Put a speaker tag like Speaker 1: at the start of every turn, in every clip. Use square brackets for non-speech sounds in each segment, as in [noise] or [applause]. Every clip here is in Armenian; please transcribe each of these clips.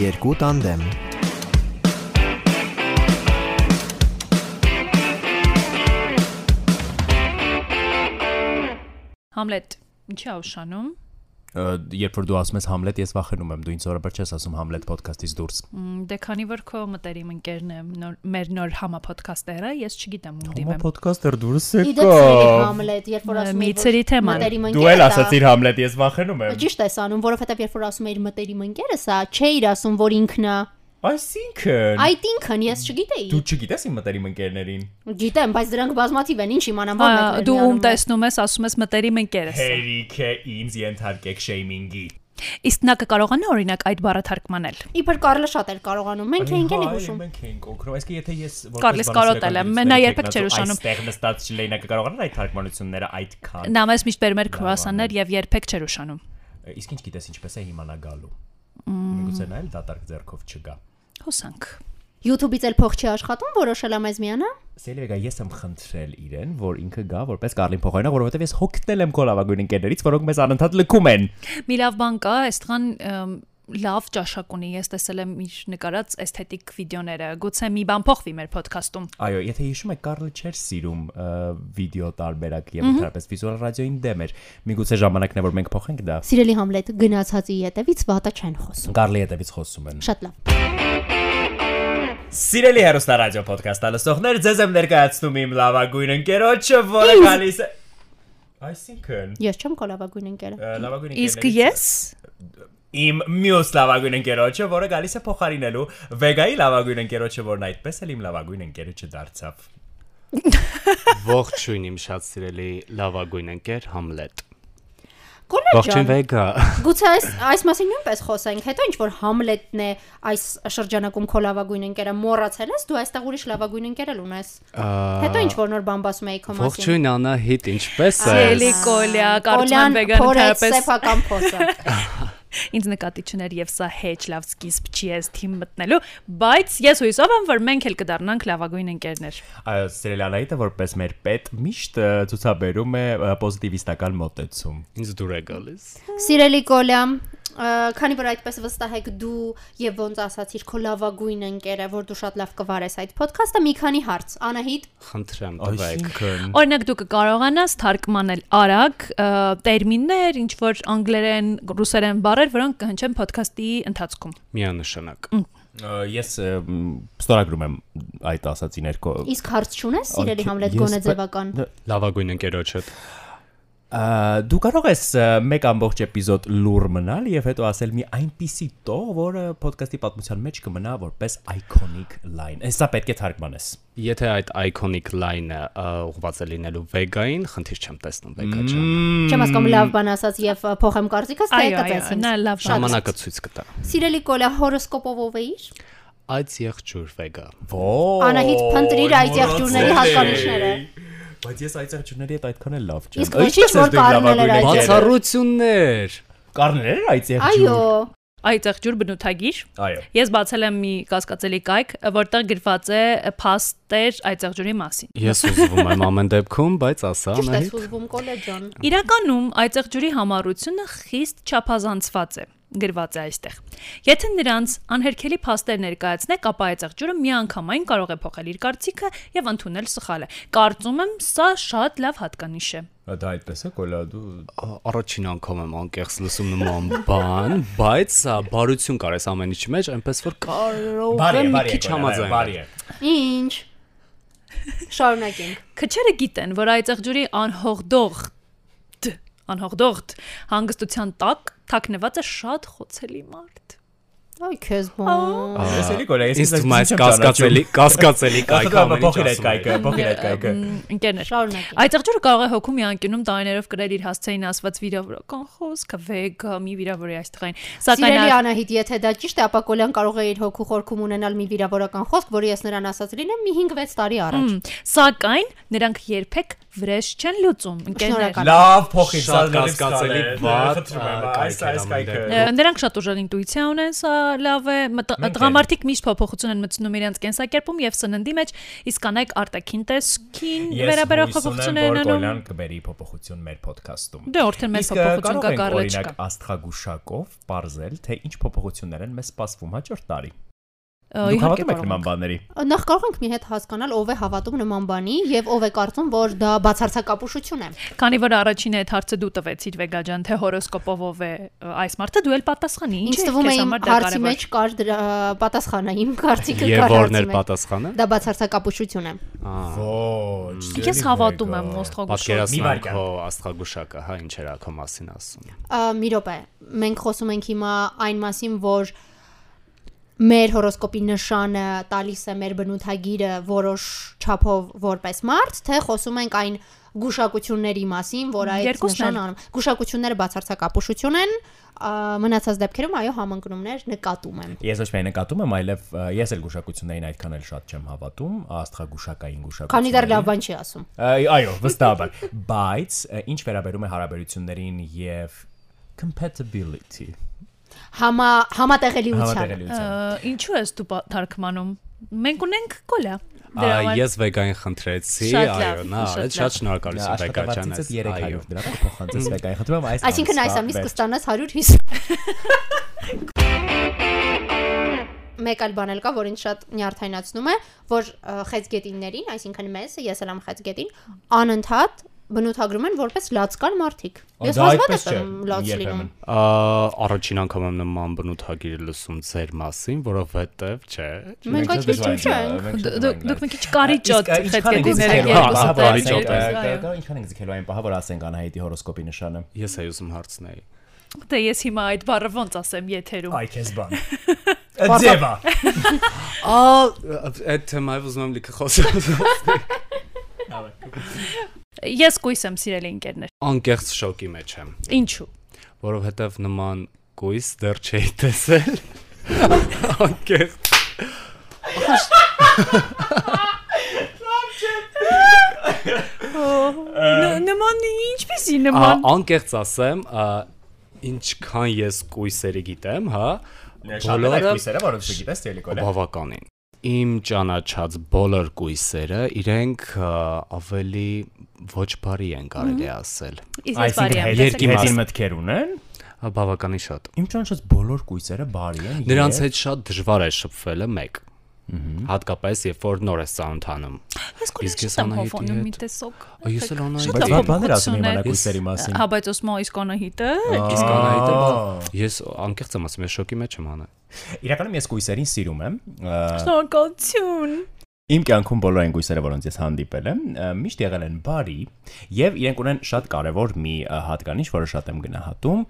Speaker 1: Երկու տանդեմ։
Speaker 2: Համլետ, ինչի ավշանում։
Speaker 3: Ա, Երբ որ դու ասում ես Համլետ, ես վախենում եմ, դու ինձ օրաբար չես ասում Համլետ ոդքասթից դուրս։
Speaker 2: Մ, Դե քանի որ քո մտերիմ ընկերն է նոր մեր նոր համապոդքասթերը, ես չգիտեմ ում
Speaker 3: Ոմա
Speaker 2: դիմեմ։
Speaker 3: ոդքասթեր դուրս
Speaker 4: Իդեպ սերի Համլետ,
Speaker 2: Ա, մի
Speaker 4: երբ որ ասում էի, որ
Speaker 2: ցրի թեման։
Speaker 4: մտերիմ
Speaker 3: Դու էլ
Speaker 4: ընկերս ա,
Speaker 3: ասացիր Համլետ, ես վախենում եմ։
Speaker 4: Ճիշտ ես անում, որովհետև երբ որ ասում էի մտերիմ ընկերս, ա, չէիր ասում, որ ինքն է։
Speaker 3: Այսինքն
Speaker 4: Այդ ինքն ես չգիտեի։
Speaker 3: դու չգիտես իմ մտերիմ ընկերներին։
Speaker 4: Գիտեմ, բայց դրանք բազմաթիվ են, ինչ իմանամ,
Speaker 2: Ա,
Speaker 4: որ մեկն
Speaker 2: Դու ում տեսնում ես, ասում ես մտերիմ ընկերս։ է։
Speaker 3: Հերիք է ինձ ենթարկեք շեյմինգի։
Speaker 2: Իսկ նա կկարողանա օրինակ այդ բառը թարգմանել։
Speaker 4: Իբր Կարլը շատ էր կարողանում։ Մենք էինք էլի
Speaker 3: Հա,
Speaker 4: հուշում։
Speaker 3: Մենք ենք օգնում։ Այսինքն եթե ես
Speaker 2: Կարլիս կարոտել եմ, նա երբեք չէր ուշանում։
Speaker 3: Այստեղ նստած չլինա կկարողանար այդ թարգմանությունները այդքան։
Speaker 2: Նա մեզ միշտ բերմեր քրուասաններ եւ երբեք չէր ուշանում։
Speaker 3: Իսկ ինչ գիտես ինչպես է հիմա նա գալու։ Միգուցե նա էլ դատարկ ձեռքով չգա։
Speaker 2: Հոսանք։
Speaker 4: YouTube-ից էլ փող չի աշխատում, որոշել եմ ես միանա։
Speaker 3: Սելվեգա ես եմ խնդրել իրեն, որ ինքը գա որպես Կարլին փոխարինը, որովհետև ես հոգնել եմ քո լավագույն ընկերներից, որոնք մեզ անընդհատ լքում են։
Speaker 2: Մի լավ բան կա, այստղան ըմ, լավ ճաշակ ունի։ Ես տեսել եմ իր նկարած էսթետիկ վիդեոները։ Գուցե մի բան փոխվի մեր ոդքասթում։
Speaker 3: Այո, եթե հիշում եք, Կարլը չէր սիրում ը, վիդեո տարբերակ եւ ընդհանրապես վիզուալ ռադիոին դեմ էր։ Միգուցե ժամանակն է, որ մենք փոխենք դա։
Speaker 4: Սիրելի Համլետ, գնացածի յետևից վատը չեն խոսում։
Speaker 3: Կարլի հետևից խոսում են։
Speaker 4: Շատ լավ։
Speaker 3: Սիրելի հերոստա ռադիո ոդկասթը լսողներ, ձեզ եմ ներկայացնում իմ լավագույն ընկերոջը, որը գալիս է Այսինքն
Speaker 4: Ես չեմ կոլավագույն ընկերը։
Speaker 3: ը, լավագույն
Speaker 2: Իսկ
Speaker 3: ընկերներից
Speaker 2: ես
Speaker 3: իմ մյուս լավագույն ընկերոջը, որը գալիս է փոխարինելու Վեգայի լավագույն ընկերոջը, որն այդպես էլ իմ լավագույն ընկերոջը դարձավ։
Speaker 5: Ողջույն իմ շատ սիրելի լավագույն ընկեր Համլետ։
Speaker 4: Կոլա
Speaker 5: Ողջույն
Speaker 4: ջան։
Speaker 5: Վեգա։
Speaker 4: Գուցե այս այս մասին նույնպես խոսենք, հետո ինչ որ Համլետն է այս շրջանակում քո լավագույն ընկերը մոռացել ես, դու այստեղ ուրիշ լավագույն ընկեր էլ ունես։ Հետո ինչ որ նոր բան ասում էի քո մասին։
Speaker 5: Ողջույն Անահիտ, ինչպես
Speaker 2: Սելի
Speaker 5: ես։
Speaker 2: Կոլյա, կարծում
Speaker 4: Կոլյան
Speaker 2: եմ վեգան
Speaker 4: փորեց
Speaker 2: ընդհանրապես
Speaker 4: սեփական
Speaker 2: [laughs]
Speaker 4: փոսը։
Speaker 2: ինձ նկատի չներ եւ սա հեչ լավ սկիզբ չի ես թիմ մտնելու, բայց ես հույսով եմ, որ մենք էլ կդառնանք լավագույն ընկերներ։
Speaker 3: Այո, սիրելի Անահիտը որպես մեր պետ միշտ ը, ցուցաբերում է ը, պոզիտիվիստական մոտեցում։
Speaker 5: Ինչ դուր է գալիս։
Speaker 4: Սիրելի Կոլյա, ա, քանի որ այդպես վստահ եք դու եւ ոնց ասացիր քո լավագույն ընկերը, որ դու շատ լավ կվարես այդ ոդքասթը, մի քանի հարց։ Անահիտ,
Speaker 5: Խնդրեմ տվեք։
Speaker 2: Օրինակ դու կկարողանաս թարգմանել արագ ը, տերմիններ, ինչ որ անգլերեն, ռուսերեն բառեր, որոնք կհնչեն ոդքասթի ընթացքում։
Speaker 5: Միանշանակ։
Speaker 3: Ա, Ես ը, մ, ստորագրում եմ այդ ասացին երկու։
Speaker 4: իսկ հարց չունես, սիրելի
Speaker 3: Ա,
Speaker 4: Համլետ
Speaker 3: ես
Speaker 4: գոնե
Speaker 3: պե-
Speaker 4: ձևական։
Speaker 5: Լավագույն ընկերոջդ։
Speaker 3: Ա, Դու կարող ես ը, մեկ ամբողջ էպիզոդ լուր մնալ եւ հետո ասել մի այնպիսի տող, որը ոդկասթի պատմության մեջ կմնա որպես iconic line։ Հեսա պետք է թարգմանես։
Speaker 5: Եթե այդ iconic line-ը ա, ուղղված է լինելու Վեգային, խնդիր չեմ տեսնում Վեգա ջան։
Speaker 4: Չեմ հասկանում լավ բան ասած եւ ա, փոխեմ կարծիքս, թե
Speaker 2: Այո, այո,
Speaker 4: կծես ինձ։
Speaker 2: նա լավ բան է։
Speaker 5: Ժամանակը ցույց կտա։
Speaker 4: Սիրելի Կոլյա, հորոսկոպով ով էիր։
Speaker 5: Այդ եղջյուր Վեգա։
Speaker 4: Անահիտ, փնտրիր այդ եղջյուրների հատկանիշները։
Speaker 3: Բայց ես այդ եղջյուրների հետ այդքան էլ լավ չեմ։
Speaker 4: Իսկ ոչինչ, որ կարմներ էր այդ եղջյուրը։
Speaker 5: Բացառություններ։
Speaker 3: Կարներ էր այդ եղջյուրը։
Speaker 4: Այո,
Speaker 2: Այդ եղջյուր բնութագիր։
Speaker 3: Այո։
Speaker 2: Ես բացել եմ մի կասկածելի կայք, որտեղ գրված է փաստեր այդ եղջյուրի մասին։
Speaker 5: Ես ուզվում
Speaker 4: [laughs]
Speaker 5: եմ ամեն դեպքում, բայց ասա
Speaker 4: ճիշտ ես
Speaker 5: Անահիտ։
Speaker 4: ուզվում Կոլյա ջան։
Speaker 2: Իրականում այդ եղջյուրի համառությունը խիստ չափազանցված է գրված է այստեղ։ Եթե նրանց անհերքելի փաստեր ներկայացնեք, ապա այդ եղջյուրը միանգամայն կարող է փոխել իր կարծիքը եւ ընդունել սխալը։ Կարծում եմ, սա շատ լավ հատկանիշ է։
Speaker 3: Ա, Դա այդպես է, կոլա դու
Speaker 5: Ա- առաջին անգամ եմ անկեղծ լսում նման բան, բայց ա, բարություն կար այս ամենի մեջ, այնպես որ կարող եմ մի քիչ համաձայնել։
Speaker 3: է։
Speaker 4: Ինչ։ Շարունակենք։
Speaker 2: Քչերը գիտեն, որ այդ եղջյուրի անհողդող դ- անհողդող դ- հանգստության տակ թաքնված է շատ խոցելի մարդ։
Speaker 4: Այ քեզ բան։
Speaker 3: Ես էլի կոլա, ես
Speaker 5: Իսկ
Speaker 3: քեզ
Speaker 5: դու մայս
Speaker 3: այսպես չեմ
Speaker 5: կասկածելի, կասկածելի
Speaker 3: ճանաչում։
Speaker 5: կայքը ամեն
Speaker 3: Փոխիր
Speaker 5: ինչ
Speaker 3: այդ կայքը, փոխիր այդ կայքը։
Speaker 2: Ընկերներ,
Speaker 4: Շարունակենք։
Speaker 2: Այդ եղջյուրը կարող է հոգու մի անկյունում տարիներով գրել իր հասցեին ասված վիրավորական խոսքը, վեգա, մի վիրավորի այստեղային։ Սակայն
Speaker 4: Սիրելի
Speaker 2: ա-
Speaker 4: Անահիտ, եթե դա ճիշտ է, ապա Կոլյան կարող է իր հոգու խորքում ունենալ մի վիրավորական խոսք, որը ես նրան ասած լինեմ մի 5-6 տարի առաջ։
Speaker 2: Սակայն նրանք երբեք վրեժ չեն լուծում, ընկերներ։
Speaker 4: Շնորհակալ
Speaker 3: Լավ փոխի
Speaker 5: Շատ կասկածելի բաց, ա,
Speaker 3: Այս
Speaker 5: կայքեր
Speaker 3: այս
Speaker 5: ամեն
Speaker 3: կայքը։
Speaker 5: դեպքում։
Speaker 2: Ա, Նրանք շատ ուժեղ ինտուիցիա ունեն, սա լավ է։ մտ-
Speaker 3: Մենք
Speaker 2: Տղամարդիկ միշտ փոփոխություն են մտցնում իրենց կենսակերպում եւ սննդի մեջ, իսկ կանայք արտաքին տեսքին վերաբերող փոփոխություններ են անում։
Speaker 3: Կոլան կբերի փոփոխություն մեր podcast-ում։
Speaker 2: Դե օրդեն մեզ
Speaker 3: Իսկ,
Speaker 2: փոփոխություն
Speaker 3: կարող
Speaker 2: կա,
Speaker 3: ենք,
Speaker 2: կարլը
Speaker 3: օրինակ,
Speaker 2: չկա։
Speaker 3: աստղագուշակով parzել, թե ինչ փոփոխություններ են մեզ սպասվում հաջորդ տարի։
Speaker 2: Ա,
Speaker 3: Դուք
Speaker 2: իհարկե
Speaker 3: հավատում եք
Speaker 2: կարող
Speaker 3: նման բաների։
Speaker 4: Նախ կարող ենք մի հետ հասկանալ ով է հավատում նման բանի եւ ով է կարծում, որ դա բացարձակապուշություն է։
Speaker 2: ենք։ Քանի որ առաջինը այդ հարցը դու տվեցիր Վեգաջան, թե հորոսկոպով ով է ա, այս մարդը, դու էլ պատասխանի։
Speaker 4: Ինչ
Speaker 2: Ինչ է քեզ
Speaker 4: թվում է իմ
Speaker 2: համար դա
Speaker 4: հարցի
Speaker 2: կարևոր։
Speaker 4: մեջ կար դրա պատասխանը, իմ կարծիքը
Speaker 5: Եվ
Speaker 4: կար
Speaker 5: որն էր
Speaker 4: հարցի մեջ։
Speaker 5: պատասխանը։
Speaker 4: Դա բացարձակապուշություն է։
Speaker 5: Ահա,
Speaker 3: Ոչ։
Speaker 2: Ես հավատում եմ ոստղոգուշով։
Speaker 3: Մի
Speaker 5: Պատկերացնա
Speaker 3: վարկյան։
Speaker 5: քո աստղագուշակը, հա, ինչ էր ակո մասին ասում։
Speaker 4: Ա, Մի րոպե, մենք խոսում ենք հիմա այն մասին, որ մեր հորոսկոպի նշանը տալիս է մեր բնութագիրը որոշ չափով որպես մարդ, թե խոսում ենք այն գուշակությունների մասին, որ այդ
Speaker 2: Երկուսն էլ։
Speaker 4: նշանը անում։ Գուշակությունները բացարձակապուշություն են, ա, մնացած դեպքերում այո համընկնումներ նկատում եմ։
Speaker 3: Ես ոչ միայն նկատում եմ, այլև ա, ես էլ գուշակություններին այդքան էլ շատ չեմ հավատում, աստղագուշակային գուշակություն։
Speaker 4: Քանի դեռ լավ բան չի ասում։
Speaker 3: Այ- Այո, վստահաբար։ Բայց ա, ինչ վերաբերում է հարաբերություններին եւ compatibility
Speaker 4: Համա համատեղելիության։
Speaker 2: Ա,
Speaker 3: համատեղելիության։
Speaker 2: Ինչու ես դու պա- թարգմանում։ Մենք ունենք կոլա։
Speaker 5: Ա,
Speaker 2: Դրա համար-
Speaker 5: Ես վեգային խնդրեցի,
Speaker 2: Շատ լավ,
Speaker 5: այո, նա,
Speaker 2: շատ
Speaker 5: արեց,
Speaker 2: լավ։
Speaker 5: շատ շնորհակալություն վեգաջան
Speaker 3: Աշխատավարձից
Speaker 5: ես։
Speaker 3: 300 դրամ
Speaker 2: [laughs]
Speaker 3: փոխանցես վեգայի։ Խնդրում եմ այս
Speaker 4: Այսինքն այս
Speaker 3: ամսվա
Speaker 4: ամիս
Speaker 3: վերջ-
Speaker 4: կստանաս
Speaker 3: [laughs]
Speaker 4: 150։ Մեկ այլ բան էլ կա, որ ինձ շատ նյարդայնացնում է, որ ը, խեցգետիններին, այսինքն մեզ, ես էլ եմ խեցգետին, անընդհատ բնութագրում են որպես լացկան մարդիկ։
Speaker 3: Ա,
Speaker 4: Ես
Speaker 3: դա
Speaker 4: հազվադեպ
Speaker 3: այդպես չէ,
Speaker 4: եմ լաց
Speaker 3: երբեմն։
Speaker 4: լինում։
Speaker 5: Ա, Առաջին անգամ եմ նման բնութագիր լսում ձեր մասին, որովհետև, չէ։
Speaker 4: Մենք
Speaker 3: Մենք
Speaker 4: այդպես
Speaker 3: դժվար
Speaker 4: չենք։
Speaker 3: ենք, մենք
Speaker 2: Դու-
Speaker 3: դժվար
Speaker 2: դու- Դուք մի
Speaker 3: ենք լավ։
Speaker 2: քիչ կարիճոտ
Speaker 3: Իսկ, ա,
Speaker 2: պետք է գուզերեք
Speaker 3: ինչքան եք ձգելու այն
Speaker 5: երկու հա,
Speaker 2: այո։
Speaker 3: պահը, որ ասենք, ա,
Speaker 5: կարիճոտ է,
Speaker 3: կա- կա- Ինչքան ենք զգելու այն պահը, որ ասենք անհայտի հորոսկոպի նշանը։
Speaker 5: Ես այո զում հարցնեի։
Speaker 2: Դե ես հիմա այդ բառը ոնց ասեմ եթերում։
Speaker 3: Այ քեզ բան։ Ձևա։
Speaker 5: Ա, այդ թեմայով ուզում եմ լիքը խոսել։
Speaker 2: Ես գույս եմ սիրելի ընկերներ։
Speaker 5: [laughs] Անկեղծ շոկի մեջ եմ,
Speaker 2: Ինչու։
Speaker 5: որովհետև նման գույս դեռ չէի տեսել։ [laughs] Անկեղծ։
Speaker 2: Ն- Նման ինչպեսի
Speaker 5: Ա,
Speaker 2: նման։
Speaker 5: Անկեղծ ասեմ, ա, ինչքան ես գույսերը գիտեմ, հա,
Speaker 3: Բոլորը քույսերը, որոնց չգիտես տելիկոլ է։
Speaker 5: բավականին։ Իմ ճանաչած բոլոր գույսերը իրենք ա, ավելի ոչ բարի են կարելի ասել։
Speaker 2: Իսկ ես բարի եմ։
Speaker 5: հետին
Speaker 2: տեսեք,
Speaker 5: մասը։
Speaker 3: մտքեր ունեն։
Speaker 5: Ա, Բավականին շատ։
Speaker 3: Իմ ճանաչած բոլոր քույսերը բարի են։
Speaker 5: Նրանց
Speaker 3: եւ-
Speaker 5: հետ շատ դժվար է շփվելը մեկ։ Հատկապես երբ որ նոր ես ծանոթանում։
Speaker 2: Ես
Speaker 5: Իսկ
Speaker 2: գույս
Speaker 5: ես
Speaker 2: եմ
Speaker 5: Անահիտի
Speaker 2: հովոնում
Speaker 5: հետ-
Speaker 2: մի տեսոք։
Speaker 5: Ա, ես էլ Անահիտի
Speaker 2: Շատ
Speaker 3: Բայց
Speaker 2: լավ
Speaker 3: լավ բաներ ասում եմ
Speaker 2: փոփոխություն է։
Speaker 3: անա քույսերի մասին։
Speaker 2: Հա բայց ոսմա իսկ անահիտը։
Speaker 5: Իսկ անհայտը
Speaker 3: Ա,
Speaker 5: բա- ես անկեղծ եմ ասում, ես շոկի մեջ եմ անը։
Speaker 3: Իրականում ես քույսերին սիրում եմ։ ա,
Speaker 2: Շնորհակալություն։
Speaker 3: Իմ կյանքում բոլոր այն գույսերը, որոնց ես հանդիպել եմ, ը, միշտ եղել են բարի եւ իրենք ունեն շատ կարեւոր մի ը, հատկանիշ, որը շատ եմ գնահատում,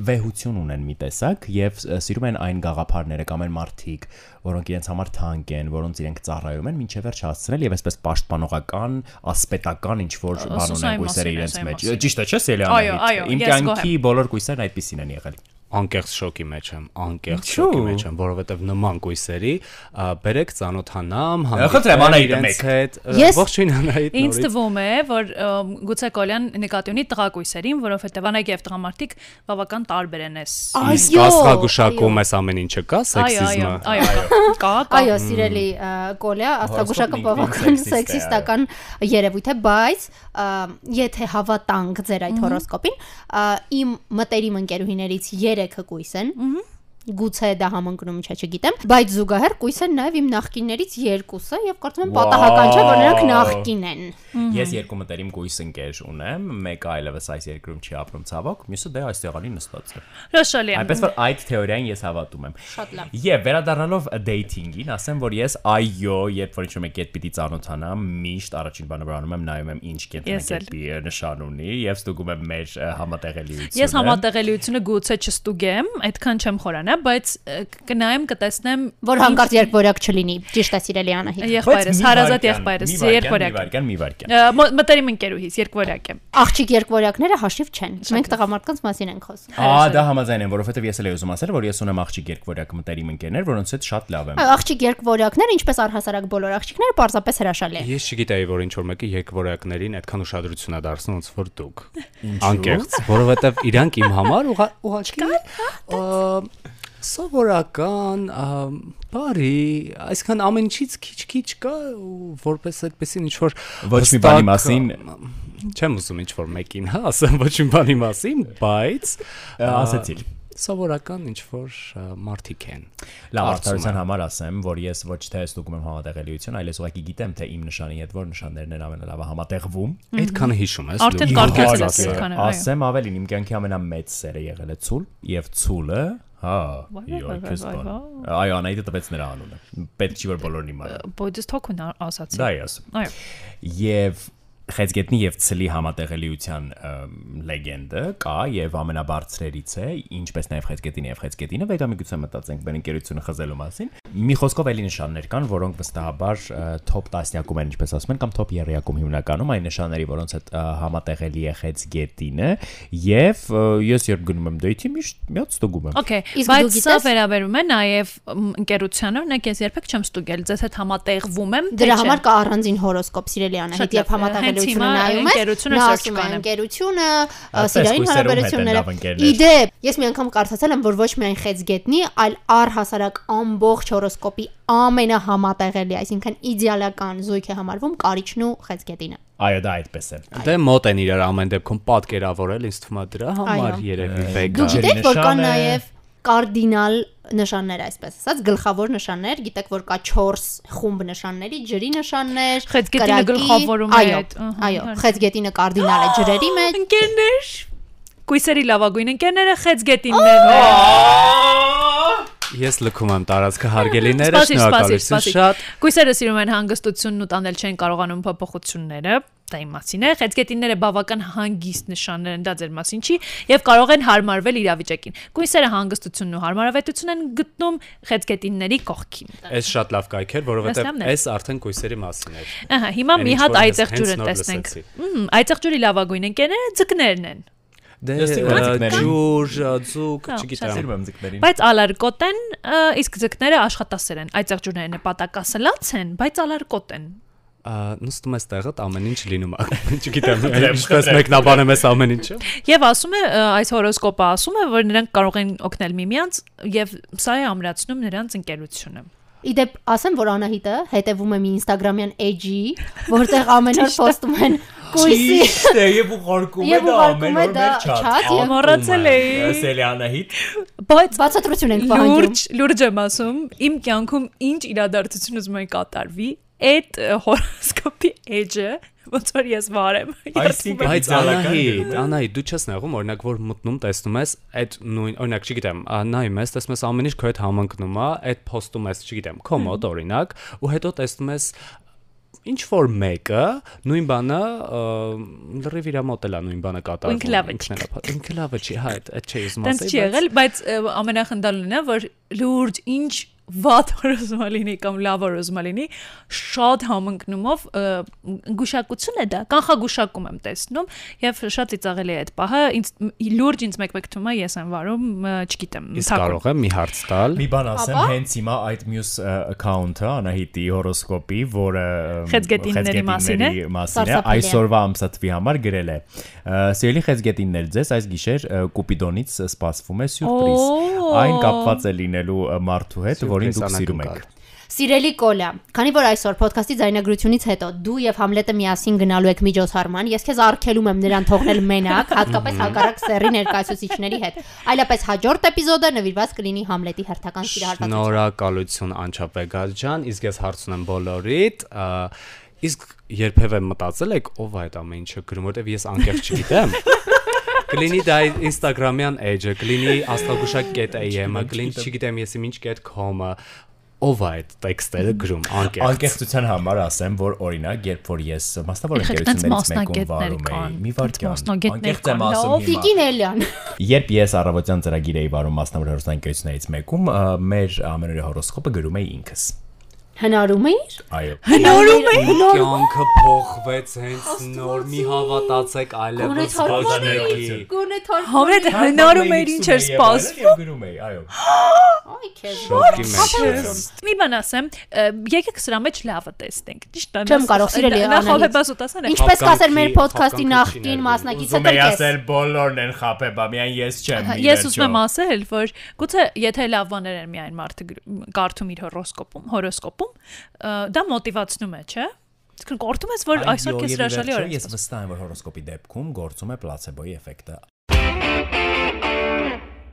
Speaker 3: վեհություն ունեն մի տեսակ եւ ս- սիրում են այն գաղափարները կամ այն մարդիկ, որոնք իրենց համար թանկ են, որոնց իրենք ծառայում են, ինչեւ վերջ հասցնել եւ այսպես պաշտպանողական, ասպետական ինչ որ բան
Speaker 2: Ասոս
Speaker 3: ունեն
Speaker 2: այն
Speaker 3: գույսերը
Speaker 2: մասին,
Speaker 3: իրենց
Speaker 2: այս այն
Speaker 3: մեջ։
Speaker 2: մասին։
Speaker 3: Ճիշտ է, չէ՞,
Speaker 2: Այո, այո,
Speaker 3: Սելիան։ Իմ
Speaker 2: ես
Speaker 3: կյանքի բոլոր գույսերն այդպեսին են եղել։
Speaker 5: Անկեղծ շոկի մեջ եմ, անկեղծ
Speaker 3: Ինչու՞։
Speaker 5: շոկի մեջ եմ, որովհետև նման գույսերի ա, բերեք ծանոթանամ,
Speaker 3: Խնդրեմ, Անահիտը մեկ։
Speaker 5: հետ։ ա,
Speaker 4: Ես-
Speaker 5: Ողջույն Անահիտ
Speaker 2: Ինձ
Speaker 5: նորից։
Speaker 2: [laughs] թվում է, որ ըմ, գուցե Կոլյան նկատի ունի տղակույսերին, որովհետև անակ եւ տղամարդիկ բավական տարբեր են էս։
Speaker 5: Իսկ աստղագուշակում էս ամեն ինչը կա,
Speaker 2: այո,
Speaker 5: սեքսիզմը։
Speaker 2: այո, այո, կա, կա։
Speaker 4: Այո, սիրելի ա, Կոլյա, աստագուշակը
Speaker 3: Հորոսկոպն
Speaker 4: բավական
Speaker 3: ինքնին
Speaker 4: սեքսիստական երևույթ է, բայց ա, եթե հավատանք ձեր այդ հորոսկոպին, ա, իմ մտերիմ ընկերուհիներից 3-ը կույս են։ Գուցե դա համընկնում չէ, չգիտեմ, բայց զուգահեռ կույս են նաև իմ նախկիններից երկուսը եւ կարծում եմ պատահական չէ, որ նրանք
Speaker 3: Վաո։
Speaker 4: նախկին են։
Speaker 3: Ես երկու մտերիմ գույս ընկեր ունեմ, մեկը այլևս այս երկրում չի ապրում ցավոք, մյուսը դե այս եղանի նստած է։
Speaker 2: Հրաշալի է։
Speaker 3: Այնպես որ այդ թեորիային ես հավատում եմ։
Speaker 4: Շատ լավ։
Speaker 3: Եվ վերադառնալով dating-ին, ասեմ, որ ես այո, երբ որ ինչ-որ մեկի հետ պիտի ծանոթանամ, միշտ առաջին բանը որ անում եմ, նայում եմ ինչ
Speaker 2: Ես էլ։
Speaker 3: կենտրոնակետի նշան ունի եւ ստուգում եմ մեր ը, համատեղելիությունը։
Speaker 2: Ես համատեղելիությունը գուցե չստուգեմ, այդքան չեմ խորանա, է, բայց ը, կնայեմ, կտեսնեմ
Speaker 4: որ հանկարծ երկվորակ չլինի։ Ճիշտ է, սիրելի Անահիտ։
Speaker 2: Եղբայրս, հարազատ եղբայրս,
Speaker 3: երկորակ։ Մի
Speaker 2: երկորակ։
Speaker 3: վարքան, մի վարքան։
Speaker 2: Ը, մո- Մտերիմ ընկերուհիս երկվորակ է։
Speaker 4: Աղջիկ երկվորակները հաշիվ չեն։ Մենք տղամարդկանց մասին ենք խոսում։
Speaker 3: Ահա դա համաձայն եմ, որովհետև ես էլ եմ ուզում ասել, որ ես ունեմ աղջիկ երկվորակ մտերիմ ընկերներ, որոնց հետ շատ լավ եմ։
Speaker 4: Այո, աղջիկ երկվորակները, ինչպես առհասարակ բոլոր աղջիկները, պարզապես հրաշալի են։
Speaker 5: Ես չգիտեի, որ ինչ որ մեկը երկվորակներին այդքան ուշադրություն է դարձնում, ոնց որ դուք։ Անկեղծ, որովհետև իրանք իմ համար ուղա- ուղղակի ա, սովորական, ա, բարի, այսքան ամեն ինչից քիչ-քիչ կա, ու որպես այդպեսին ինչ որ
Speaker 3: Ոչ մի բանի մասին
Speaker 5: չեմ ուզում ինչ որ մեկին, հա, ասեմ ոչ մի բանի մասին, բայց
Speaker 3: ա, ասեցիր։
Speaker 5: սովորական ինչ որ մարտիկ են։
Speaker 3: Լավ,
Speaker 5: Կարծում
Speaker 3: արդարության համար ասեմ, որ ես ոչ թե ստուգում եմ համատեղելիություն, այլ ես ուղղակի գիտեմ, թե իմ նշանի հետ որ նշաններն են ամենալավը համատեղվում։
Speaker 5: Այդքանը հիշում ես։
Speaker 2: Արդեն
Speaker 5: դու։
Speaker 2: կարկացել
Speaker 5: Իհարկե,
Speaker 2: ես այդքանը, այո։
Speaker 3: Ասեմ ավելին, իմ կյանքի ամենամեծ սերը եղել է ցուլ, եւ ցուլը, հա,
Speaker 2: վայ,
Speaker 3: այո,
Speaker 2: վայ,
Speaker 3: քեզ
Speaker 2: վայ, հա։
Speaker 3: բան։
Speaker 2: վայ,
Speaker 3: Այո, անայդը տվեց նրա անունը։ Պետք չի որ բոլորն իմանան։
Speaker 2: Բայց թոքուն ասացի։
Speaker 3: Դա ես։
Speaker 2: Այո։
Speaker 3: Եվ Խեցգետնի եւ ցլի համատեղելիության ըմ, լեգենդը կա եւ ամենաբարձրերից է, ինչպես նաեւ Խեցգետինը եւ Խեցգետինը վերամիգուցիա մտածենք մեր ընկերությունը խզելու մասին։ Մի խոսքով էլի նշաններ կան, որոնք վստահաբար ը, top 10-ակում են, ինչպես ասում են, կամ top 30-ակում հիմնականում այն նշանների, որոնց հետ ը, համատեղելի է Խեցգետինը, եւ ը, ես երբ գնում եմ դեյթի միշտ միած ստուգում եմ։
Speaker 2: Okay,
Speaker 4: Իսկ դու
Speaker 2: բայց սա
Speaker 4: գիտես-
Speaker 2: վերաբերում է նաև մ, ընկերության, օրինակ ես երբեք չեմ ստուգել, ձեզ հետ համատեղվում եմ։ թե
Speaker 4: Դրա
Speaker 2: չէ։
Speaker 4: համար կա առանձին հորոսկոպ սիրելի
Speaker 2: Շատ լավ,
Speaker 4: Անահիտ, երբ համատեղելությունը
Speaker 2: հենց հիմա
Speaker 4: նայում
Speaker 2: ընկերությունը սուրճ
Speaker 4: ես, նա ասում է
Speaker 2: կանեմ։
Speaker 4: ընկերությունը, ա,
Speaker 3: Ասես,
Speaker 4: սիրային
Speaker 3: կույսերում հետ են
Speaker 4: հարաբերությունները։
Speaker 3: լավ ընկերներ։
Speaker 4: Իդեպ, ես մի անգամ կարծացել եմ, որ ոչ միայն խեցգետնի, այլ առհասարակ ամբողջ հորոսկոպի ամենահամատեղելի, այսինքն իդեալական զույգ է համարվում կարիճն ու խեցգետինը։
Speaker 3: Այո, դա այդպես է։
Speaker 5: Դե մոտ են իրար ամեն դեպքում պատկերավորել, ինձ թվում է դրա համար
Speaker 4: Այո։
Speaker 5: երևի
Speaker 4: Դու
Speaker 5: վեգա։
Speaker 3: Ջերմ
Speaker 4: գիտեք, որ կան
Speaker 3: նշան է։
Speaker 4: նաև կարդինալ նշաններ, այսպես ասած, գլխավոր նշաններ, գիտեք, որ կա 4 խումբ նշանների, ջրի նշաններ,
Speaker 2: Խեցգետինը
Speaker 4: կրակի,
Speaker 2: գլխավորում է
Speaker 4: այո,
Speaker 2: այդ, ըհը,
Speaker 4: Այո,
Speaker 2: հարգ-
Speaker 4: խեցգետինը կարդինալ է ջրերի մեջ,
Speaker 2: Ընկերներ։ Կույսերի լավագույն ընկերները խեցգետիններն են։
Speaker 5: Ես լքում եմ տարածքը հարգելիները,
Speaker 2: Սպասիր, սպասիր,
Speaker 5: շնորհակալություն
Speaker 2: սպասիր։
Speaker 5: շատ։
Speaker 2: Կույսերը սիրում են հանգստությունն ու տանել չեն կարողանում փոփոխությունները դա իմ մասին է խեցգետինները բավական հանգիստ նշաններ են դա ձեր մասին չի եւ կարող են հարմարվել իրավիճակին կույսերը հանգստությունն ու հարմարավետությունն են գտնում խեցգետինների կողքին
Speaker 5: Այս շատ լավ կայք էր,
Speaker 2: Այս
Speaker 5: որովհետև
Speaker 2: լավն է։
Speaker 5: այս արդեն կույսերի մասին էր։
Speaker 2: ահա հիմա
Speaker 5: Էն
Speaker 2: մի
Speaker 5: ինչ
Speaker 2: հատ
Speaker 5: որ ես
Speaker 2: այծեղ
Speaker 5: հենց
Speaker 2: ջուրը
Speaker 5: նոր
Speaker 2: տեսնենք
Speaker 5: լսեցի։
Speaker 2: Մհմ, այծեղ ջուրի լավագույն ընկերները ձկներն են
Speaker 5: Դե
Speaker 3: Ես սիրում եմ
Speaker 5: ա,
Speaker 3: ձկներին։
Speaker 5: ջուր, ա, ձուկ,
Speaker 2: Հա, շատ
Speaker 5: չգիտեմ։
Speaker 3: Սիրում եմ ձկներին։
Speaker 2: բայց ալարկոտ են ը, իսկ ձկները աշխատասեր են այծեղ ջուրները նպատակասլաց են բայց ալարկոտ են
Speaker 5: ա, Նստում ես տեղդ, ամեն ինչ լինում [laughs] է։ Չգիտեմ, ինչպես մեկնաբանում ես ամեն ինչը։
Speaker 2: Եվ ասում է ը, այս հորոսկոպը ասում է, որ նրանք կարող են օգնել միմյանց եւ սա է ամրացնում նրանց ընկերությունը։
Speaker 4: Իդեպ ասեմ, որ Անահիտը հետևում է մի Instagram-յան էջի, որտեղ ամեն օր post-ում են կույսի
Speaker 3: Ճիշտ է, եւ ուղարկում
Speaker 4: եւ ուղարկում է դա chat եւ
Speaker 2: Մոռացել էի,
Speaker 3: Սելյանահիտ
Speaker 2: բայց
Speaker 4: բացատրություն ենք պահանջում։
Speaker 2: լուրջ, լուրջ եմ ասում, իմ կյանքում ինչ իրադարձություն ուզում եմ կատարվի, այդ ը, հորոսկոպի էջը ոնց որ ես վարեմ։
Speaker 3: Այսինքն-
Speaker 5: Բայց
Speaker 3: Իդեալական
Speaker 5: Անահիտ,
Speaker 3: դեպքում։
Speaker 5: Անահիտ, դու չես նեղում, օրինակ որ մտնում տեսնում ես այդ նույն, օրինակ, չգիտեմ, ա, նայում ես, տեսնում ես ամեն ինչ քո հետ համընկնում է, այդ post-ում ես, չգիտեմ, քո մոտ օրինակ, ու հետո տեսնում ես ինչ որ մեկը նույն բանը ա, լրիվ իր մոտելա նույն բանը կատարում։
Speaker 2: Ինքը լավը չի։
Speaker 5: ինքն էլ ա- Ինքը լավը չի, հա, այդ այդ չի ուզում
Speaker 2: Տենց
Speaker 5: ասել։
Speaker 2: չի եղել, բայց ը, ամենախնդալն է, որ լուրջ ինչ վատ [laughs] օրոզմա լինի կամ լավ օրոզմա լինի, շատ համընկնումով ը, գուշակություն է դա, կանխագուշակում եմ տեսնում եւ շատ ծիծաղելի է այդ պահը, ինձ լուրջ ինձ մեկ-մեկ թվում է ես եմ վարում, ը, չգիտեմ,
Speaker 5: Իսկ կարող եմ մի հարց տալ։
Speaker 3: Մի բան ասեմ, հենց հիմա այդ մյուս account-ը Անահիտի հորոսկոպի, որը ը,
Speaker 2: Խեցգետինների
Speaker 3: խեցգետինների
Speaker 2: մասին է,
Speaker 3: մասին է,
Speaker 4: սարսափելի է։
Speaker 3: այսօրվա ամսաթվի համար գրել է. «Ը, Սիրելի խեցգետիններ, ձեզ այս գիշեր ը, Կուպիդոնից սպասվում է սյուրպրիզ։
Speaker 2: Օ՜։
Speaker 3: Այն կապված է լինելու ը, մարդու հետ, որին
Speaker 5: Սյուրպրիզ
Speaker 3: դուք սիրում եք»։
Speaker 5: անակնկալ։
Speaker 4: Սիրելի Կոլա, քանի որ այսօր ոդքասթի ձայնագրությունից հետո դու եւ Համլետը միասին գնալու եք միջոցառման, ես քեզ արգելում եմ նրան թողնել մենակ, հատկապես հակառակ սերի ներկայացուցիչների հետ։ Այլապես հաջորդ էպիզոդը նվիրված կլինի Համլետի հերթական սիրահարվածությանը։
Speaker 5: Շնորհակալություն Անչապեգալ ջան, իսկ ես հարց ունեմ բոլորիդ, ա, իսկ երբևէ մտածել եք ով է այդ ամեն ինչը գրում, որտեվ ես անկեղծ չգիտեմ։ Կլինի դա այդ Instagram-յան էջը, կլինի աստագուշակ.am-ը, կլինի չգիտեմ ես իմ ինչ.com-ը։ ով է այդ տեքստերը գրում անկեղծ։
Speaker 3: Անկեղծության համար ասեմ, որ օրինակ, երբ որ ես մասնավոր
Speaker 2: Եղեք, տենց մասնագետներ
Speaker 3: ընկերություններից մեկում վարում
Speaker 2: կան,
Speaker 3: էի, մի
Speaker 2: տենց
Speaker 3: վարքյան,
Speaker 2: մասնագետներ
Speaker 3: անկեղծ
Speaker 2: կան,
Speaker 3: եմ
Speaker 2: լավ,
Speaker 3: ասում հիմա։
Speaker 4: Տիկին Էլյան։
Speaker 3: Երբ ես առավոտյան ծրագիր էի վարում մասնավոր հերոստանգերություններից մեկում, ա, մեր ամենօրյա հորոսկոպը գրում էի ինքս։
Speaker 4: Հնարում էիր։
Speaker 3: Այո։
Speaker 4: Հնարում էի։
Speaker 5: Կյանքը փոխվեց հենց նոր մի հավատացեք
Speaker 4: Գոնե
Speaker 5: այլևս
Speaker 4: թարգման էի։
Speaker 5: բաժանելուկի։
Speaker 4: Գոնե թարգման։
Speaker 2: Համրետ հնարում էր ինչ էր սպասում։
Speaker 3: Եվ գրում էի, այո։
Speaker 4: Այ քեզ։
Speaker 5: Շոկի մեջ եմ։
Speaker 2: Մի բան ասեմ, ը, եկեք սրա մեջ լավը տեսնենք։ Ճիշտ է։
Speaker 4: Չեմ կարող, սիրելի Անահիտ։
Speaker 2: Նախապեպս ուտասան է։
Speaker 4: Ինչպես կասեր մեր
Speaker 5: Հապկանքի-
Speaker 4: ոդքասթի
Speaker 5: հապկանքի
Speaker 4: նախկին
Speaker 5: չիներ,
Speaker 4: մասնակիցը
Speaker 2: Հա,
Speaker 3: Ուզում էի
Speaker 4: դրկես։
Speaker 3: ասել բոլորն են խապե, բա միայն ես չեմ։ ի
Speaker 2: Ես
Speaker 3: վերջո։
Speaker 2: ուզում եմ ասել, որ գուցե եթե լավ բաներ են միայն մարդը գրում- կարդում իր հորոսկոպում, հորոսկոպում, ը, դա մոտիվացնում է, չէ՞։ Իսկ կարդում ես, որ
Speaker 3: Այո,
Speaker 2: այսօր
Speaker 3: եւ
Speaker 2: քեզ
Speaker 3: ի
Speaker 2: հրաշալի
Speaker 3: վերջո
Speaker 2: օր
Speaker 3: Ես վստահ եմ, որ հորոսկոպի դեպքում գործում է պլացեբոյի էֆեկտը։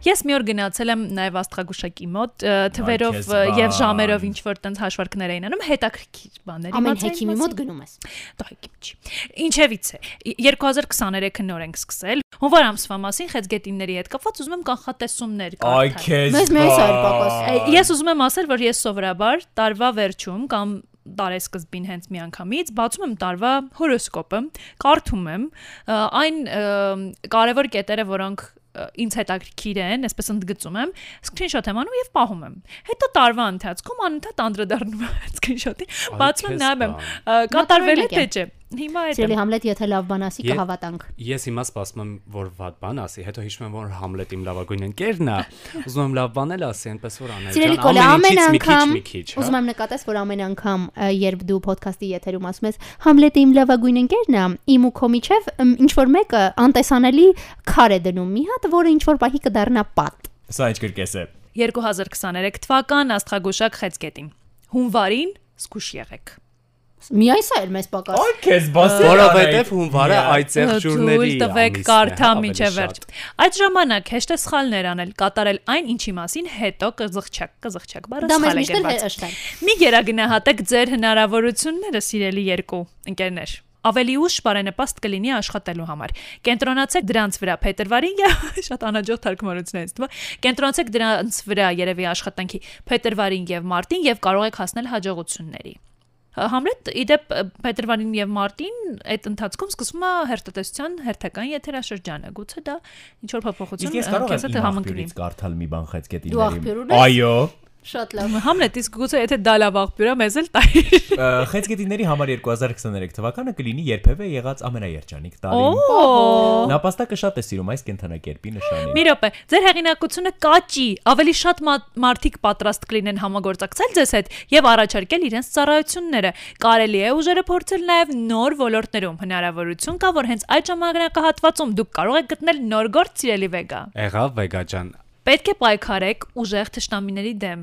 Speaker 2: Ես մի օր գնացել եմ նաև աստղագուշակի մոտ ը, թվերով
Speaker 3: քեզ
Speaker 2: ը, եւ
Speaker 3: բան։
Speaker 2: ժամերով ինչ որ տենց հաշվարկներ էին անում, հետաքրքիր բաներ
Speaker 4: Ամեն
Speaker 2: իմացա
Speaker 4: հեքիմի
Speaker 2: իմ
Speaker 4: մոտ
Speaker 2: մասին։
Speaker 4: գնում ես։
Speaker 2: Տայքի մեջ։ Ինչևից է 2023-ը նոր ենք սկսել։ Հունվար ամսվա մասին խեցգետինների հետ կապված ուզում եմ կանխատեսումներ
Speaker 3: Այ
Speaker 2: կարդալ։
Speaker 3: քեզ։
Speaker 4: Մեզ միայն սա էր
Speaker 3: բան։
Speaker 4: պակաս։
Speaker 2: Ա, Ես ուզում եմ ասել, որ ես սովորաբար տարվա վերջում կամ տարեսկզբին հենց միանգամից բացում եմ տարվա հորոսկոպը, կարդում եմ ա, այն ա, կարևոր կետերը, որոնք ա, ինձ հետաքրքիր են, այսպես ընդգծում եմ, սկրինշոթ եմ անում եւ պահում եմ։ Հետո տարվա ընթացքում անընդհատ անդրադառնում եմ սկրինշոթին, բացում եմ,
Speaker 5: քեզ
Speaker 2: նայում եմ,
Speaker 5: բան։
Speaker 2: ա, կատարվել է
Speaker 4: Մտորինակ
Speaker 2: թե
Speaker 4: եմ։
Speaker 2: չէ։ Հիմա այդ եմ
Speaker 4: Սիրելի հա- Համլետ, եթե լավ բան ասի,
Speaker 5: Եվ-
Speaker 4: կհավատանք։
Speaker 5: Ես հիմա սպասում եմ, որ վատ բան ասի, հետո հիշում եմ, որ Համլետ իմ լավագույն ընկերն է։ Ուզում եմ լավ բան էլ ասի, այնպես որ անել։
Speaker 4: Սիրելի Կոլա, ամեն
Speaker 5: մի քիչ,
Speaker 4: անգամ
Speaker 5: մի քիչ, հա։
Speaker 4: ուզում եմ նկատես, որ ամեն անգամ ը, երբ դու ոդքասթի եթերում ասում ես Համլետը իմ լավագույն ընկերն է, իմ ու քո միջև ինչ որ մեկը անտեսանելի քար է դնում մի հատ, որը ինչ որ պահի կդառնա պատ։
Speaker 3: Սա ինչ գրկես է։
Speaker 2: 2023 թվական աստղագուշակ խեցգետին։ Հունվարին զգուշ եղեք։
Speaker 4: Մի այս այլ մեզ պակաս։
Speaker 3: Այ քեզ բասե։
Speaker 5: որովհետև հունվարը այդ ծեղջուրների
Speaker 2: Թույլ տվեք կարդա միջև վերջ։ Այդ ժամանակ հեշտ է սխալներ անել, կատարել այն, ինչի մասին հետո կզղճակ, կզղճակ բառը
Speaker 4: Դա մեզ
Speaker 2: սխալ է
Speaker 4: միշտ էլ
Speaker 2: գրված։
Speaker 4: հեշտ է։
Speaker 2: Մի գերագնահատեք ձեր հնարավորությունները, սիրելի երկու ընկերներ։ Ավելի ուշ բարենպաստ կլինի աշխատելու համար։ Կենտրոնացեք դրանց վրա փետրվարին եւ [laughs] շատ անաջող թարգմանություններից դու։ Կենտրոնացեք դրանց վրա երևի աշխատանքի փետրվարին եւ մարտին եւ կարող եք հասնել հաջողությունների։ Համլետ իդեպ Պետրվանին եւ Մարտին այդ ընթացքում սկսվում է հերթատեսության հերթական եթերաշրջանը։ Գուցե դա ինչ որ փոփոխություն
Speaker 3: Իսկ ես կարող
Speaker 2: քեզ
Speaker 3: եմ
Speaker 2: հետ
Speaker 3: իմ
Speaker 2: համընկնի։
Speaker 3: աղբյուրից կարդալ մի բան խեցկետի
Speaker 4: Դու աղբյուր ունես։
Speaker 3: Այո։
Speaker 4: Շատ լավ։
Speaker 2: Համլետ, իսկ գուցե եթե դա լավ աղբյուր է, մեզ էլ տայ։
Speaker 3: Խեցգետիների համար 2023 թվականը կլինի երբևէ եղած ամենաերջանիկ տարին։
Speaker 2: Օ՜։
Speaker 3: Նապաստակը շատ է սիրում այս կենթանակերպի նշանին։
Speaker 2: Մի րոպե, ձեր հեղինակությունը կաճի, ավելի շատ մա- մարդիկ պատրաստ կլինեն համագործակցել ձեզ հետ եւ առաջարկել իրենց ծառայությունները։ Կարելի է ուժերը փորձել նաեւ նոր ոլորտներում։ Հնարավորություն կա, որ հենց այդ ժամանակահատվածում դուք կարող եք գտնել նոր գործ սիրելի վեգա։
Speaker 5: Եղավ վեգաջան։
Speaker 2: Պետք է պայքարեք ուժեղ ճշտամիների դեմ։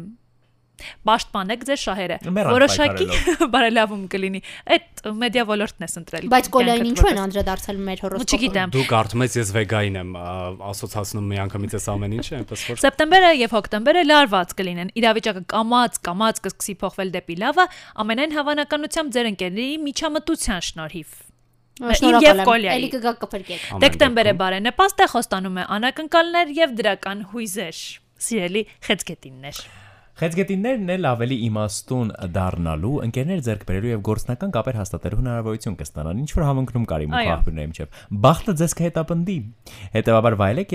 Speaker 2: Պաշտպանեք ձեր շահերը։
Speaker 3: Մեռանք
Speaker 2: Որոշակի [laughs] բարելավում կլինի։ Այդ մեդիա ոլորտն ես ընտրել։
Speaker 4: Բայց Կոլային
Speaker 2: կյանքդ
Speaker 4: ինչու
Speaker 2: որպես։
Speaker 4: են անդրադարձել մեր
Speaker 2: Ու
Speaker 4: հորոսկոպը։
Speaker 2: չգիտեմ։
Speaker 5: Դու կարդում ես ես վեգային եմ, ա, ասոցացնում մի անգամից էս ամեն ինչը, այնպես որ
Speaker 2: Սեպտեմբերը եւ հոկտեմբերը լարված կլինեն։ Իրավիճակը կամած, կամած կսկսի փոխվել դեպի լավը, ամենայն հավանականությամբ ձեր ընկերների միջամտության շնորհիվ։ Իմ եւ Կոլյայի։
Speaker 4: Էլի կգա կփրկեք։
Speaker 5: ամեն
Speaker 2: Դեկտեմբերը
Speaker 5: դեպքում
Speaker 2: բարենպաստ է, խոստանում է անակնկալներ եւ դրական հույզեր։ Սիրելի խեցգետիններ։
Speaker 3: Խեցգետիններն էլ ավելի իմաստուն դառնալու, ընկերներ ձեռք բերելու եւ գործնական կապեր հաստատելու հնարավորություն կստանան, ինչ որ համընկնում կարի մուք
Speaker 2: Այո։
Speaker 3: ախբերների միջև։ Բախտը ձեզ կհետապնդի։ Հետևաբար վայելեք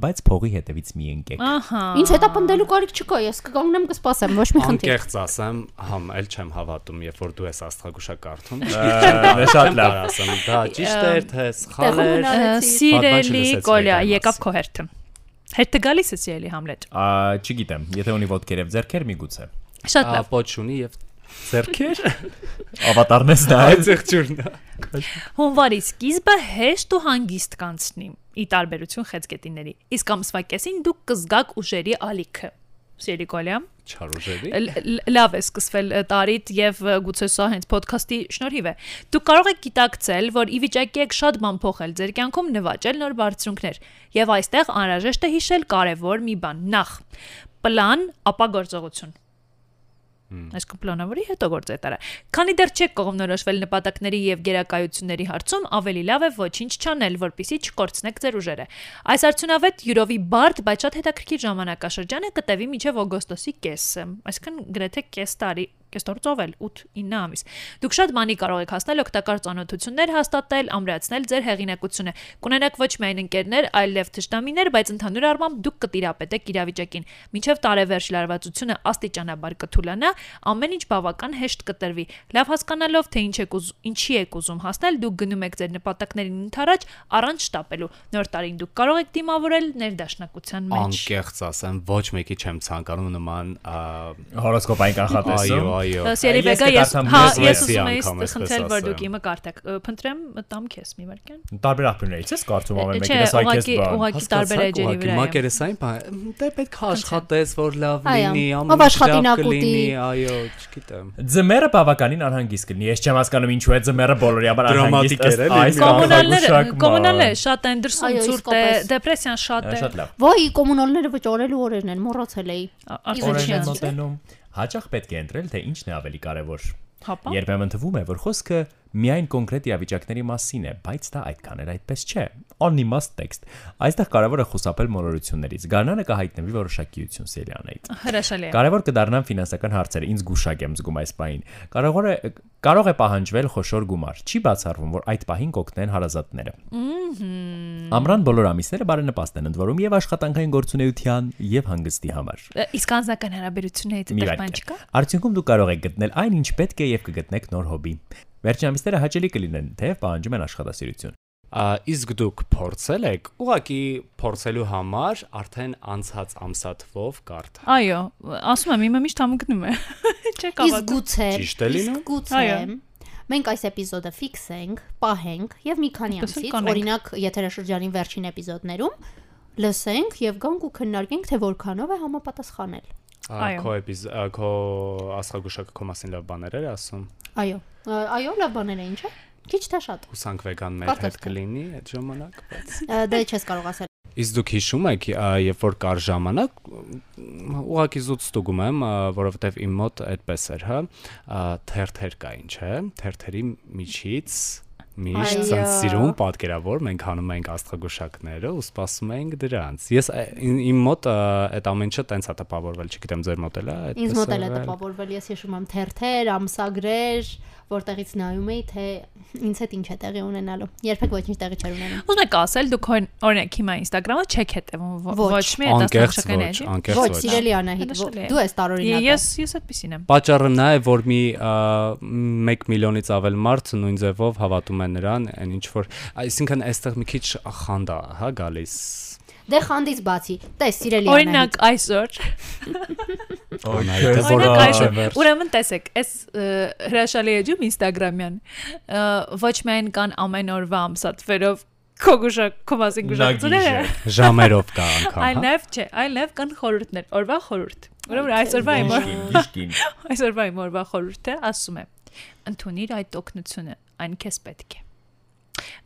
Speaker 3: երջանկությունը, բայց փողի հետևից մի ընկեք։
Speaker 2: Ահա։
Speaker 4: Ինչ հետա պնդելու կարիք չկա, ես կգանգնեմ կսպասեմ, ոչ մի խնդիր։
Speaker 5: Անկեղծ ասեմ, համ էլ չեմ հավատում, երբ որ դու ես աստղագուշակ կարդում։
Speaker 3: Շատ
Speaker 5: Լավ ասեմ, դա ճիշտ էր, թե սխալ
Speaker 4: Տեղում
Speaker 5: էր։
Speaker 2: Ա,
Speaker 4: հնար- Արեցի։
Speaker 2: Սիրելի
Speaker 5: Պատմաչուլս էս
Speaker 2: Կոլյա,
Speaker 5: վեգան
Speaker 2: եկավ
Speaker 5: մասը։
Speaker 2: քո հերթը։ Հերթը գալիս է սիրելի Համլետ։
Speaker 3: Ա, չգիտեմ, եթե ունի ոդկեր եւ ձեռքեր միգուցե։
Speaker 2: Շատ լավ։
Speaker 5: Ապոչունի եւ ձերքեր։
Speaker 3: Ավատարն ես դա։
Speaker 5: Այդ ձերքջուրն է։
Speaker 2: Հունվարի սկիզբը հեշտ ու հանգիստ կանցնի՝ ի տարբերություն խեցգետինների։ Իսկ ամսվա կեսին դուք կզգաք ուժերի ալիքը։ Սիրելի Կոլյա,
Speaker 5: Չարուժերի։
Speaker 2: Լ- լ- լավ է սկսվել ը, տարիդ եւ ը, գուցե սա հենց ոդքասթի շնորհիվ է։ Դուք կարող եք գիտակցել, որ ի վիճակի եք շատ բան փոխել ձեր կյանքում, նվաճել նոր բարձունքներ։ Եվ այստեղ անհրաժեշտ է հիշել կարևոր մի բան՝ նախ՝ պլան, ապա գործողություն։ Այս կպլանավորի հետո գործ է տարա։ Քանի դեռ չեք կողմնորոշվել նպատակների եւ գերակայությունների հարցում, ավելի լավ է ոչինչ չանել, որpիսի չկորցնեք ձեր ուժերը։ Այս արդյունավետ յուրովի բարդ, բայց շատ հետաքրքիր ժամանակաշրջանը կտևի մինչև օգոստոսի կեսը, այսինքն գրեթե կես տարի կստորցով էլ 8-9 ամիս։ Դուք շատ բանի կարող եք հասնել օգտակար ճանաչություններ հաստատել, ամրացնել ձեր հեղինակությունը։ Կունենաք ոչ միայն ընկերներ, այլև թշնամիներ, բայց ընդհանուր առմամբ դուք կտիրապետեք իրավիճակին։ Մինչև տարեվերջ լարվածությունը աստիճանաբար կթուլանա, ամեն ինչ բավական հեշտ կտրվի։ Լավ հասկանալով, թե ինչ եք ուզ, ինչի եք ուզում հասնել, դուք գնում եք ձեր նպատակներին ընդառաջ առանց շտապելու։ Նոր տարին դուք կարող եք դիմավորել ներդաշնակության մեջ։
Speaker 5: Անկեղծ ասեմ, ոչ մեկի չեմ ցանկանում նման ա,
Speaker 3: Հորոսկոպային
Speaker 5: այո,
Speaker 3: կանխատեսում։
Speaker 5: այո։
Speaker 2: Ես երևի
Speaker 3: Ես
Speaker 2: ես
Speaker 3: կդարձամ
Speaker 2: հա
Speaker 3: ես
Speaker 2: ես
Speaker 5: լեսի
Speaker 2: ուզում եի խնդրել որ
Speaker 5: անգամ, այսպես ասեմ։
Speaker 2: դուք իմը կարտեք։ Ը, Փնտրեմ տամ քեզ մի վարքան։
Speaker 3: Տարբեր աղբյուրներից ես կարծում ամեն
Speaker 2: Չէ,
Speaker 3: մեկը սայք ես
Speaker 2: ուղակի
Speaker 3: բան։
Speaker 2: ուղակի տարբեր
Speaker 5: Հասկացաք,
Speaker 2: էջերի վրա։
Speaker 5: ուղղակի
Speaker 2: եմ։
Speaker 5: մակերեսային բան, դե պետք է աշխատես, որ լավ
Speaker 4: Այո,
Speaker 5: լինի,
Speaker 4: ով աշխատին
Speaker 5: լավ
Speaker 4: ակուտի։
Speaker 5: կլինի, այո, չգիտեմ։
Speaker 3: Ձմերը բավականին անհանգիստ կլինի։ Ես չեմ հասկանում ինչու է ձմերը բոլորի համար
Speaker 5: Դրամատիկ
Speaker 3: անհանգիստ։ ըստ
Speaker 5: էր, էլի,
Speaker 3: այս
Speaker 5: մի հատ։
Speaker 2: Կոմունալները,
Speaker 3: կանխագուշակման։
Speaker 2: կոմունալները շատ են դրսում
Speaker 4: Այո,
Speaker 2: ցուրտ է,
Speaker 4: իսկապես։
Speaker 2: դեպրեսիան շատ է։
Speaker 3: Շատ լավ։
Speaker 4: Ոյ, կոմունալները վճարելու օրերն են, մոռացել էի։
Speaker 2: Ա- արդեն
Speaker 4: Օրերն
Speaker 2: չի
Speaker 3: Օրենքն
Speaker 4: Իրեն
Speaker 2: անցել։
Speaker 3: մտնում։ Հաճախ պետք է ընտրել, թե ինչն է ավելի կարևոր։
Speaker 2: Հապա։
Speaker 3: Երբեմն թվում է, որ խոսքը միայն կոնկրետ իրավիճակների մասին է, բայց դա այդքան էլ այդպես չէ։ Անիմաստ տեքստ։ Այստեղ կարևոր է խոսապել մոլորություններից։ Գանանը կհայտնվի որոշակիություն սերիանից։
Speaker 2: Հրաշալի է։
Speaker 3: Կարևոր կդառնան ֆինանսական հարցերը։ Ինձ գուշակ եմ զգում այս պահին։ Կարող է կարող է պահանջվել խոշոր գումար։ Չի բացառվում, որ այդ պահին կօգնեն հարազատները։ Ամրան բոլոր ամիսները բարենպաստ են ընդվորում եւ աշխատանքային գործունեության եւ հանգստի համար։
Speaker 2: Ա, Իսկ անձնական հարաբերություններից
Speaker 3: Մի
Speaker 2: այդտեղ բան
Speaker 3: վարկ։
Speaker 2: չկա։
Speaker 3: Արդյունքում դու կարող ես գտնել այն, ինչ պետք է եւ կգտնեք նոր հոբի։ Վերջնամիսները հաճելի կլինեն, թե պահանջում են աշխատասիրություն։
Speaker 5: Ա, Իսկ դուք փորձել եք, ուղղակի փորձելու համար արդեն անցած ամսաթվով կարդ։
Speaker 2: Այո, ասում եմ, իմը միշտ համգնում է։ [laughs] Չէ
Speaker 4: Իսկ
Speaker 2: կավակում։
Speaker 4: գուցե։
Speaker 5: Ճիշտ է լինում։
Speaker 4: իսկ Գուցե։
Speaker 2: Այո։
Speaker 4: Մենք այս էպիզոդը ֆիքսենք, պահենք եւ մի քանի
Speaker 2: Լսենք,
Speaker 4: ամսից,
Speaker 2: կանենք։
Speaker 4: օրինակ, եթերաշրջանի վերջին էպիզոդներում լսենք եւ գանք ու քննարկենք, թե որքանով է համապատասխանել։
Speaker 5: Ա,
Speaker 2: Այո։
Speaker 5: Քո էպիզ ա, քո աշխագուշակը քո մասին լավ բաներ էր ասում։
Speaker 4: Այո։ Ա, Այո, լավ բաներ էին, չէ՞։ Քիչ թե շատ։
Speaker 5: Հուսանք վեգաններ հետ
Speaker 4: Կարծես թե։
Speaker 5: կլինի այդ ժամանակ, բայց
Speaker 4: Ա, Դե չես կարող ասել։
Speaker 5: Իսկ դուք հիշում եք, ա, երբ որ կար ժամանակ, մ, ուղղակի զուտ ստուգում եմ, ա, որովհետև իմ մոտ այդպես էր, հա, ա, թերթեր կային, չէ, թերթերի միջից միշտ
Speaker 4: Այո։
Speaker 5: ցած սիրուն պատկերավոր մենք հանում ենք աստղագուշակները ու սպասում ենք դրանց։ Ես ա, իմ- իմ մոտ ա, այդ ամենը տենց է տպավորվել, չգիտեմ ձեր մոտ էլ է այդպես։
Speaker 4: Ինձ մոտ էլ է
Speaker 5: եղել։
Speaker 4: տպավորվել, ես հիշում եմ թերթեր, ամսագրեր, որտեղից նայում էի, թե ինձ հետ ինչ է տեղի ունենալու։ Երբեք ոչինչ տեղի չէր ունենում։
Speaker 2: Ուզում եք ասել, դուք հոր- օրինակ հիմա Instagram-ը չեք հետևում ո-
Speaker 4: Ոչ,
Speaker 2: ոչ մի
Speaker 5: Անկեղծ
Speaker 2: հետաքրքրական
Speaker 5: ոչ,
Speaker 2: էջի։
Speaker 5: անկեղծ
Speaker 4: Ոչ,
Speaker 5: ոչ։
Speaker 4: սիրելի Անահիտ,
Speaker 2: Հրաշալի է։
Speaker 4: ո- դու ես տարօրինակը։
Speaker 2: Ես ես այդպեսին եմ։
Speaker 5: Պաճառը նա է, որ մի 1 միլիոնից ավել մարդ նույն ձևով հավատում է նրան, այն ինչ որ, այսինքն այստեղ մի քիչ խանդա, հա, գալիս։
Speaker 4: Դե խանդից բացի, տես սիրելի Անահիտ։
Speaker 2: Օրինակ այսօր,
Speaker 5: Անահիտը, որը
Speaker 2: օրինակ այսօր,
Speaker 5: վերջ։
Speaker 2: ուրեմն տեսեք, այս ը, հրաշալի էջում Instagram-յան ը, ոչ միայն կան ամեն օրվա ամսաթվերով կոգուշակ, կոմասին գուշակները,
Speaker 5: ժամերով [laughs] կա
Speaker 2: այլ
Speaker 5: անգամ, հա։
Speaker 2: նաև չէ, այլ նաև կան խորհուրդներ, օրվա խորհուրդ։ Ուրեմն
Speaker 3: դե
Speaker 2: այսօրվա իմ օր-
Speaker 3: Գիշկին։
Speaker 2: այսօրվա իմ օրվա խորհուրդը ասում է. ընդունիր այդ օկնությունը, այն քեզ պետք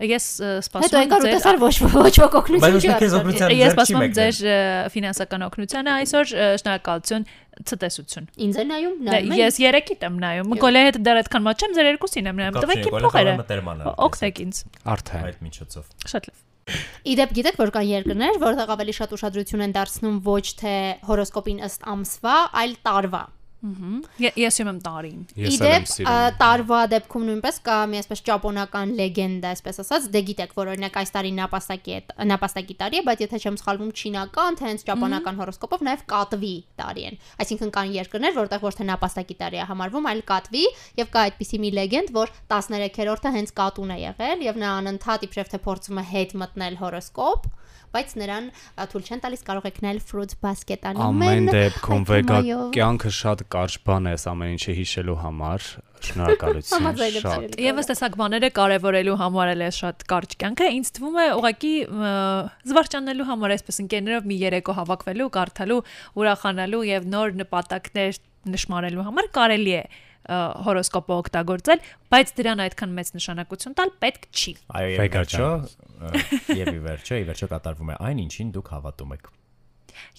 Speaker 2: է։ Ես ը,
Speaker 4: Հետո
Speaker 2: սպասում եմ
Speaker 4: եկար ու տեսար ոչ ոչ ոք օգնություն չի արել։
Speaker 2: Ես սպասում եմ ձեր ը, ֆինանսական օգնությանը այսօր ը, շնորհակալություն ցտեսություն։
Speaker 4: Ինձ է նայում,
Speaker 2: Դե
Speaker 4: նայում։
Speaker 2: ես երեքիդ եմ նայում։ Մկոլեի հետ դեռ այդքան մաչ չեմ, ձեր երկուսին եմ նայում։ Տվեք իմ փողերը։ Օգնեք ինձ։
Speaker 5: Արդեն։
Speaker 3: այդ միջոցով։
Speaker 2: Շատ լավ։
Speaker 4: Իդեպ գիտեք, որ կան երկրներ, որտեղ ավելի շատ ուշադրություն են դարձնում ոչ թե հորոսկոպին ըստ ամսվա, այլ տարվա։
Speaker 2: Ե- Ես ում եմ տարին։
Speaker 5: Ես էլ եմ
Speaker 4: Իդեպ
Speaker 5: սիրում։
Speaker 4: տարվա դեպքում նույնպես կա մի այսպես ճապոնական լեգենդա, այսպես ասած, դե գիտեք, որ օրինակ այս տարի նապաստակի է, նապաստակի տարի է, բայց եթե չեմ սխալվում, չինական, թե հենց ճապոնական հորոսկոպով նաև կատվի տարի են։ Այսինքն կան երկրներ, որտեղ ոչ թե նապաստակի տարի է համարվում, այլ կատվի, եւ կա այդպիսի մի լեգենդ, որ 13-րդը հենց կատուն է եղել եւ նա անընդհատ իբրև թե փորձում է հետ մտնել հորոսկոպ բայց նրան ա, թույլ չեն տալիս կարող եք նայել fruits basket-անի
Speaker 5: Ամեն դեպքում վեգա
Speaker 4: մայով։
Speaker 5: կյանքը շատ կարճ բան է այս ամեն ինչը հիշելու համար։ Շնորհակալություն։
Speaker 4: Համաձայն եմ
Speaker 5: Շատ։
Speaker 4: սիրելի
Speaker 2: Եվս տեսակ բաները կարևորելու համար էլ է շատ կարճ կյանքը, ինձ թվում է ուղղակի ը, զվարճանելու համար, այսպես ընկերներով մի երեկո հավաքվելու, կարդալու, ուրախանալու եւ նոր նպատակներ նշмарելու համար կարելի է ը, հորոսկոպը օգտագործել, բայց դրան այդքան մեծ նշանակություն տալ պետք չի։
Speaker 3: Այո,
Speaker 5: Վեգա
Speaker 3: եւ վերջո, ը, եւ ի վերջո, ի վերջո կատարվում է այն, ինչին դուք հավատում եք։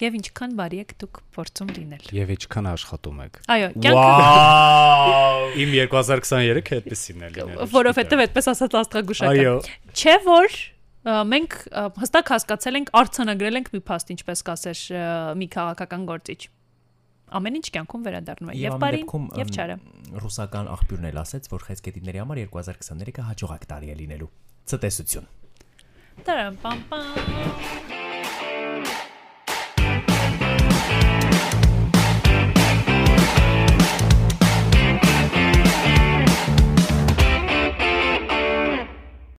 Speaker 2: եւ ինչքան բարի եք դուք փորձում լինել։
Speaker 5: Եվ ինչքան աշխատում եք։
Speaker 2: Այո, կյանքը
Speaker 5: Վաու! Իմ 2023-ը այդպեսին է լինել։
Speaker 2: որովհետեւ այդպես ասած աստղագուշակ է։
Speaker 5: Այո։
Speaker 2: Չէ որ ա, մենք ա, հստակ հասկացել ենք, արցանագրել ենք մի փաստ, ինչպես կասեր ա, մի քաղաքական գործիչ։ Ամեն ինչ կյանքում վերադառնում է եւ բարին, եւ չարը։
Speaker 3: Ռուսական աղբյուրն էլ ասաց, որ խեցգետիների համար 2023-ը հաջողակ տարի է լինելու։ Ցտեսություն։
Speaker 2: Տարամ պամ պամ։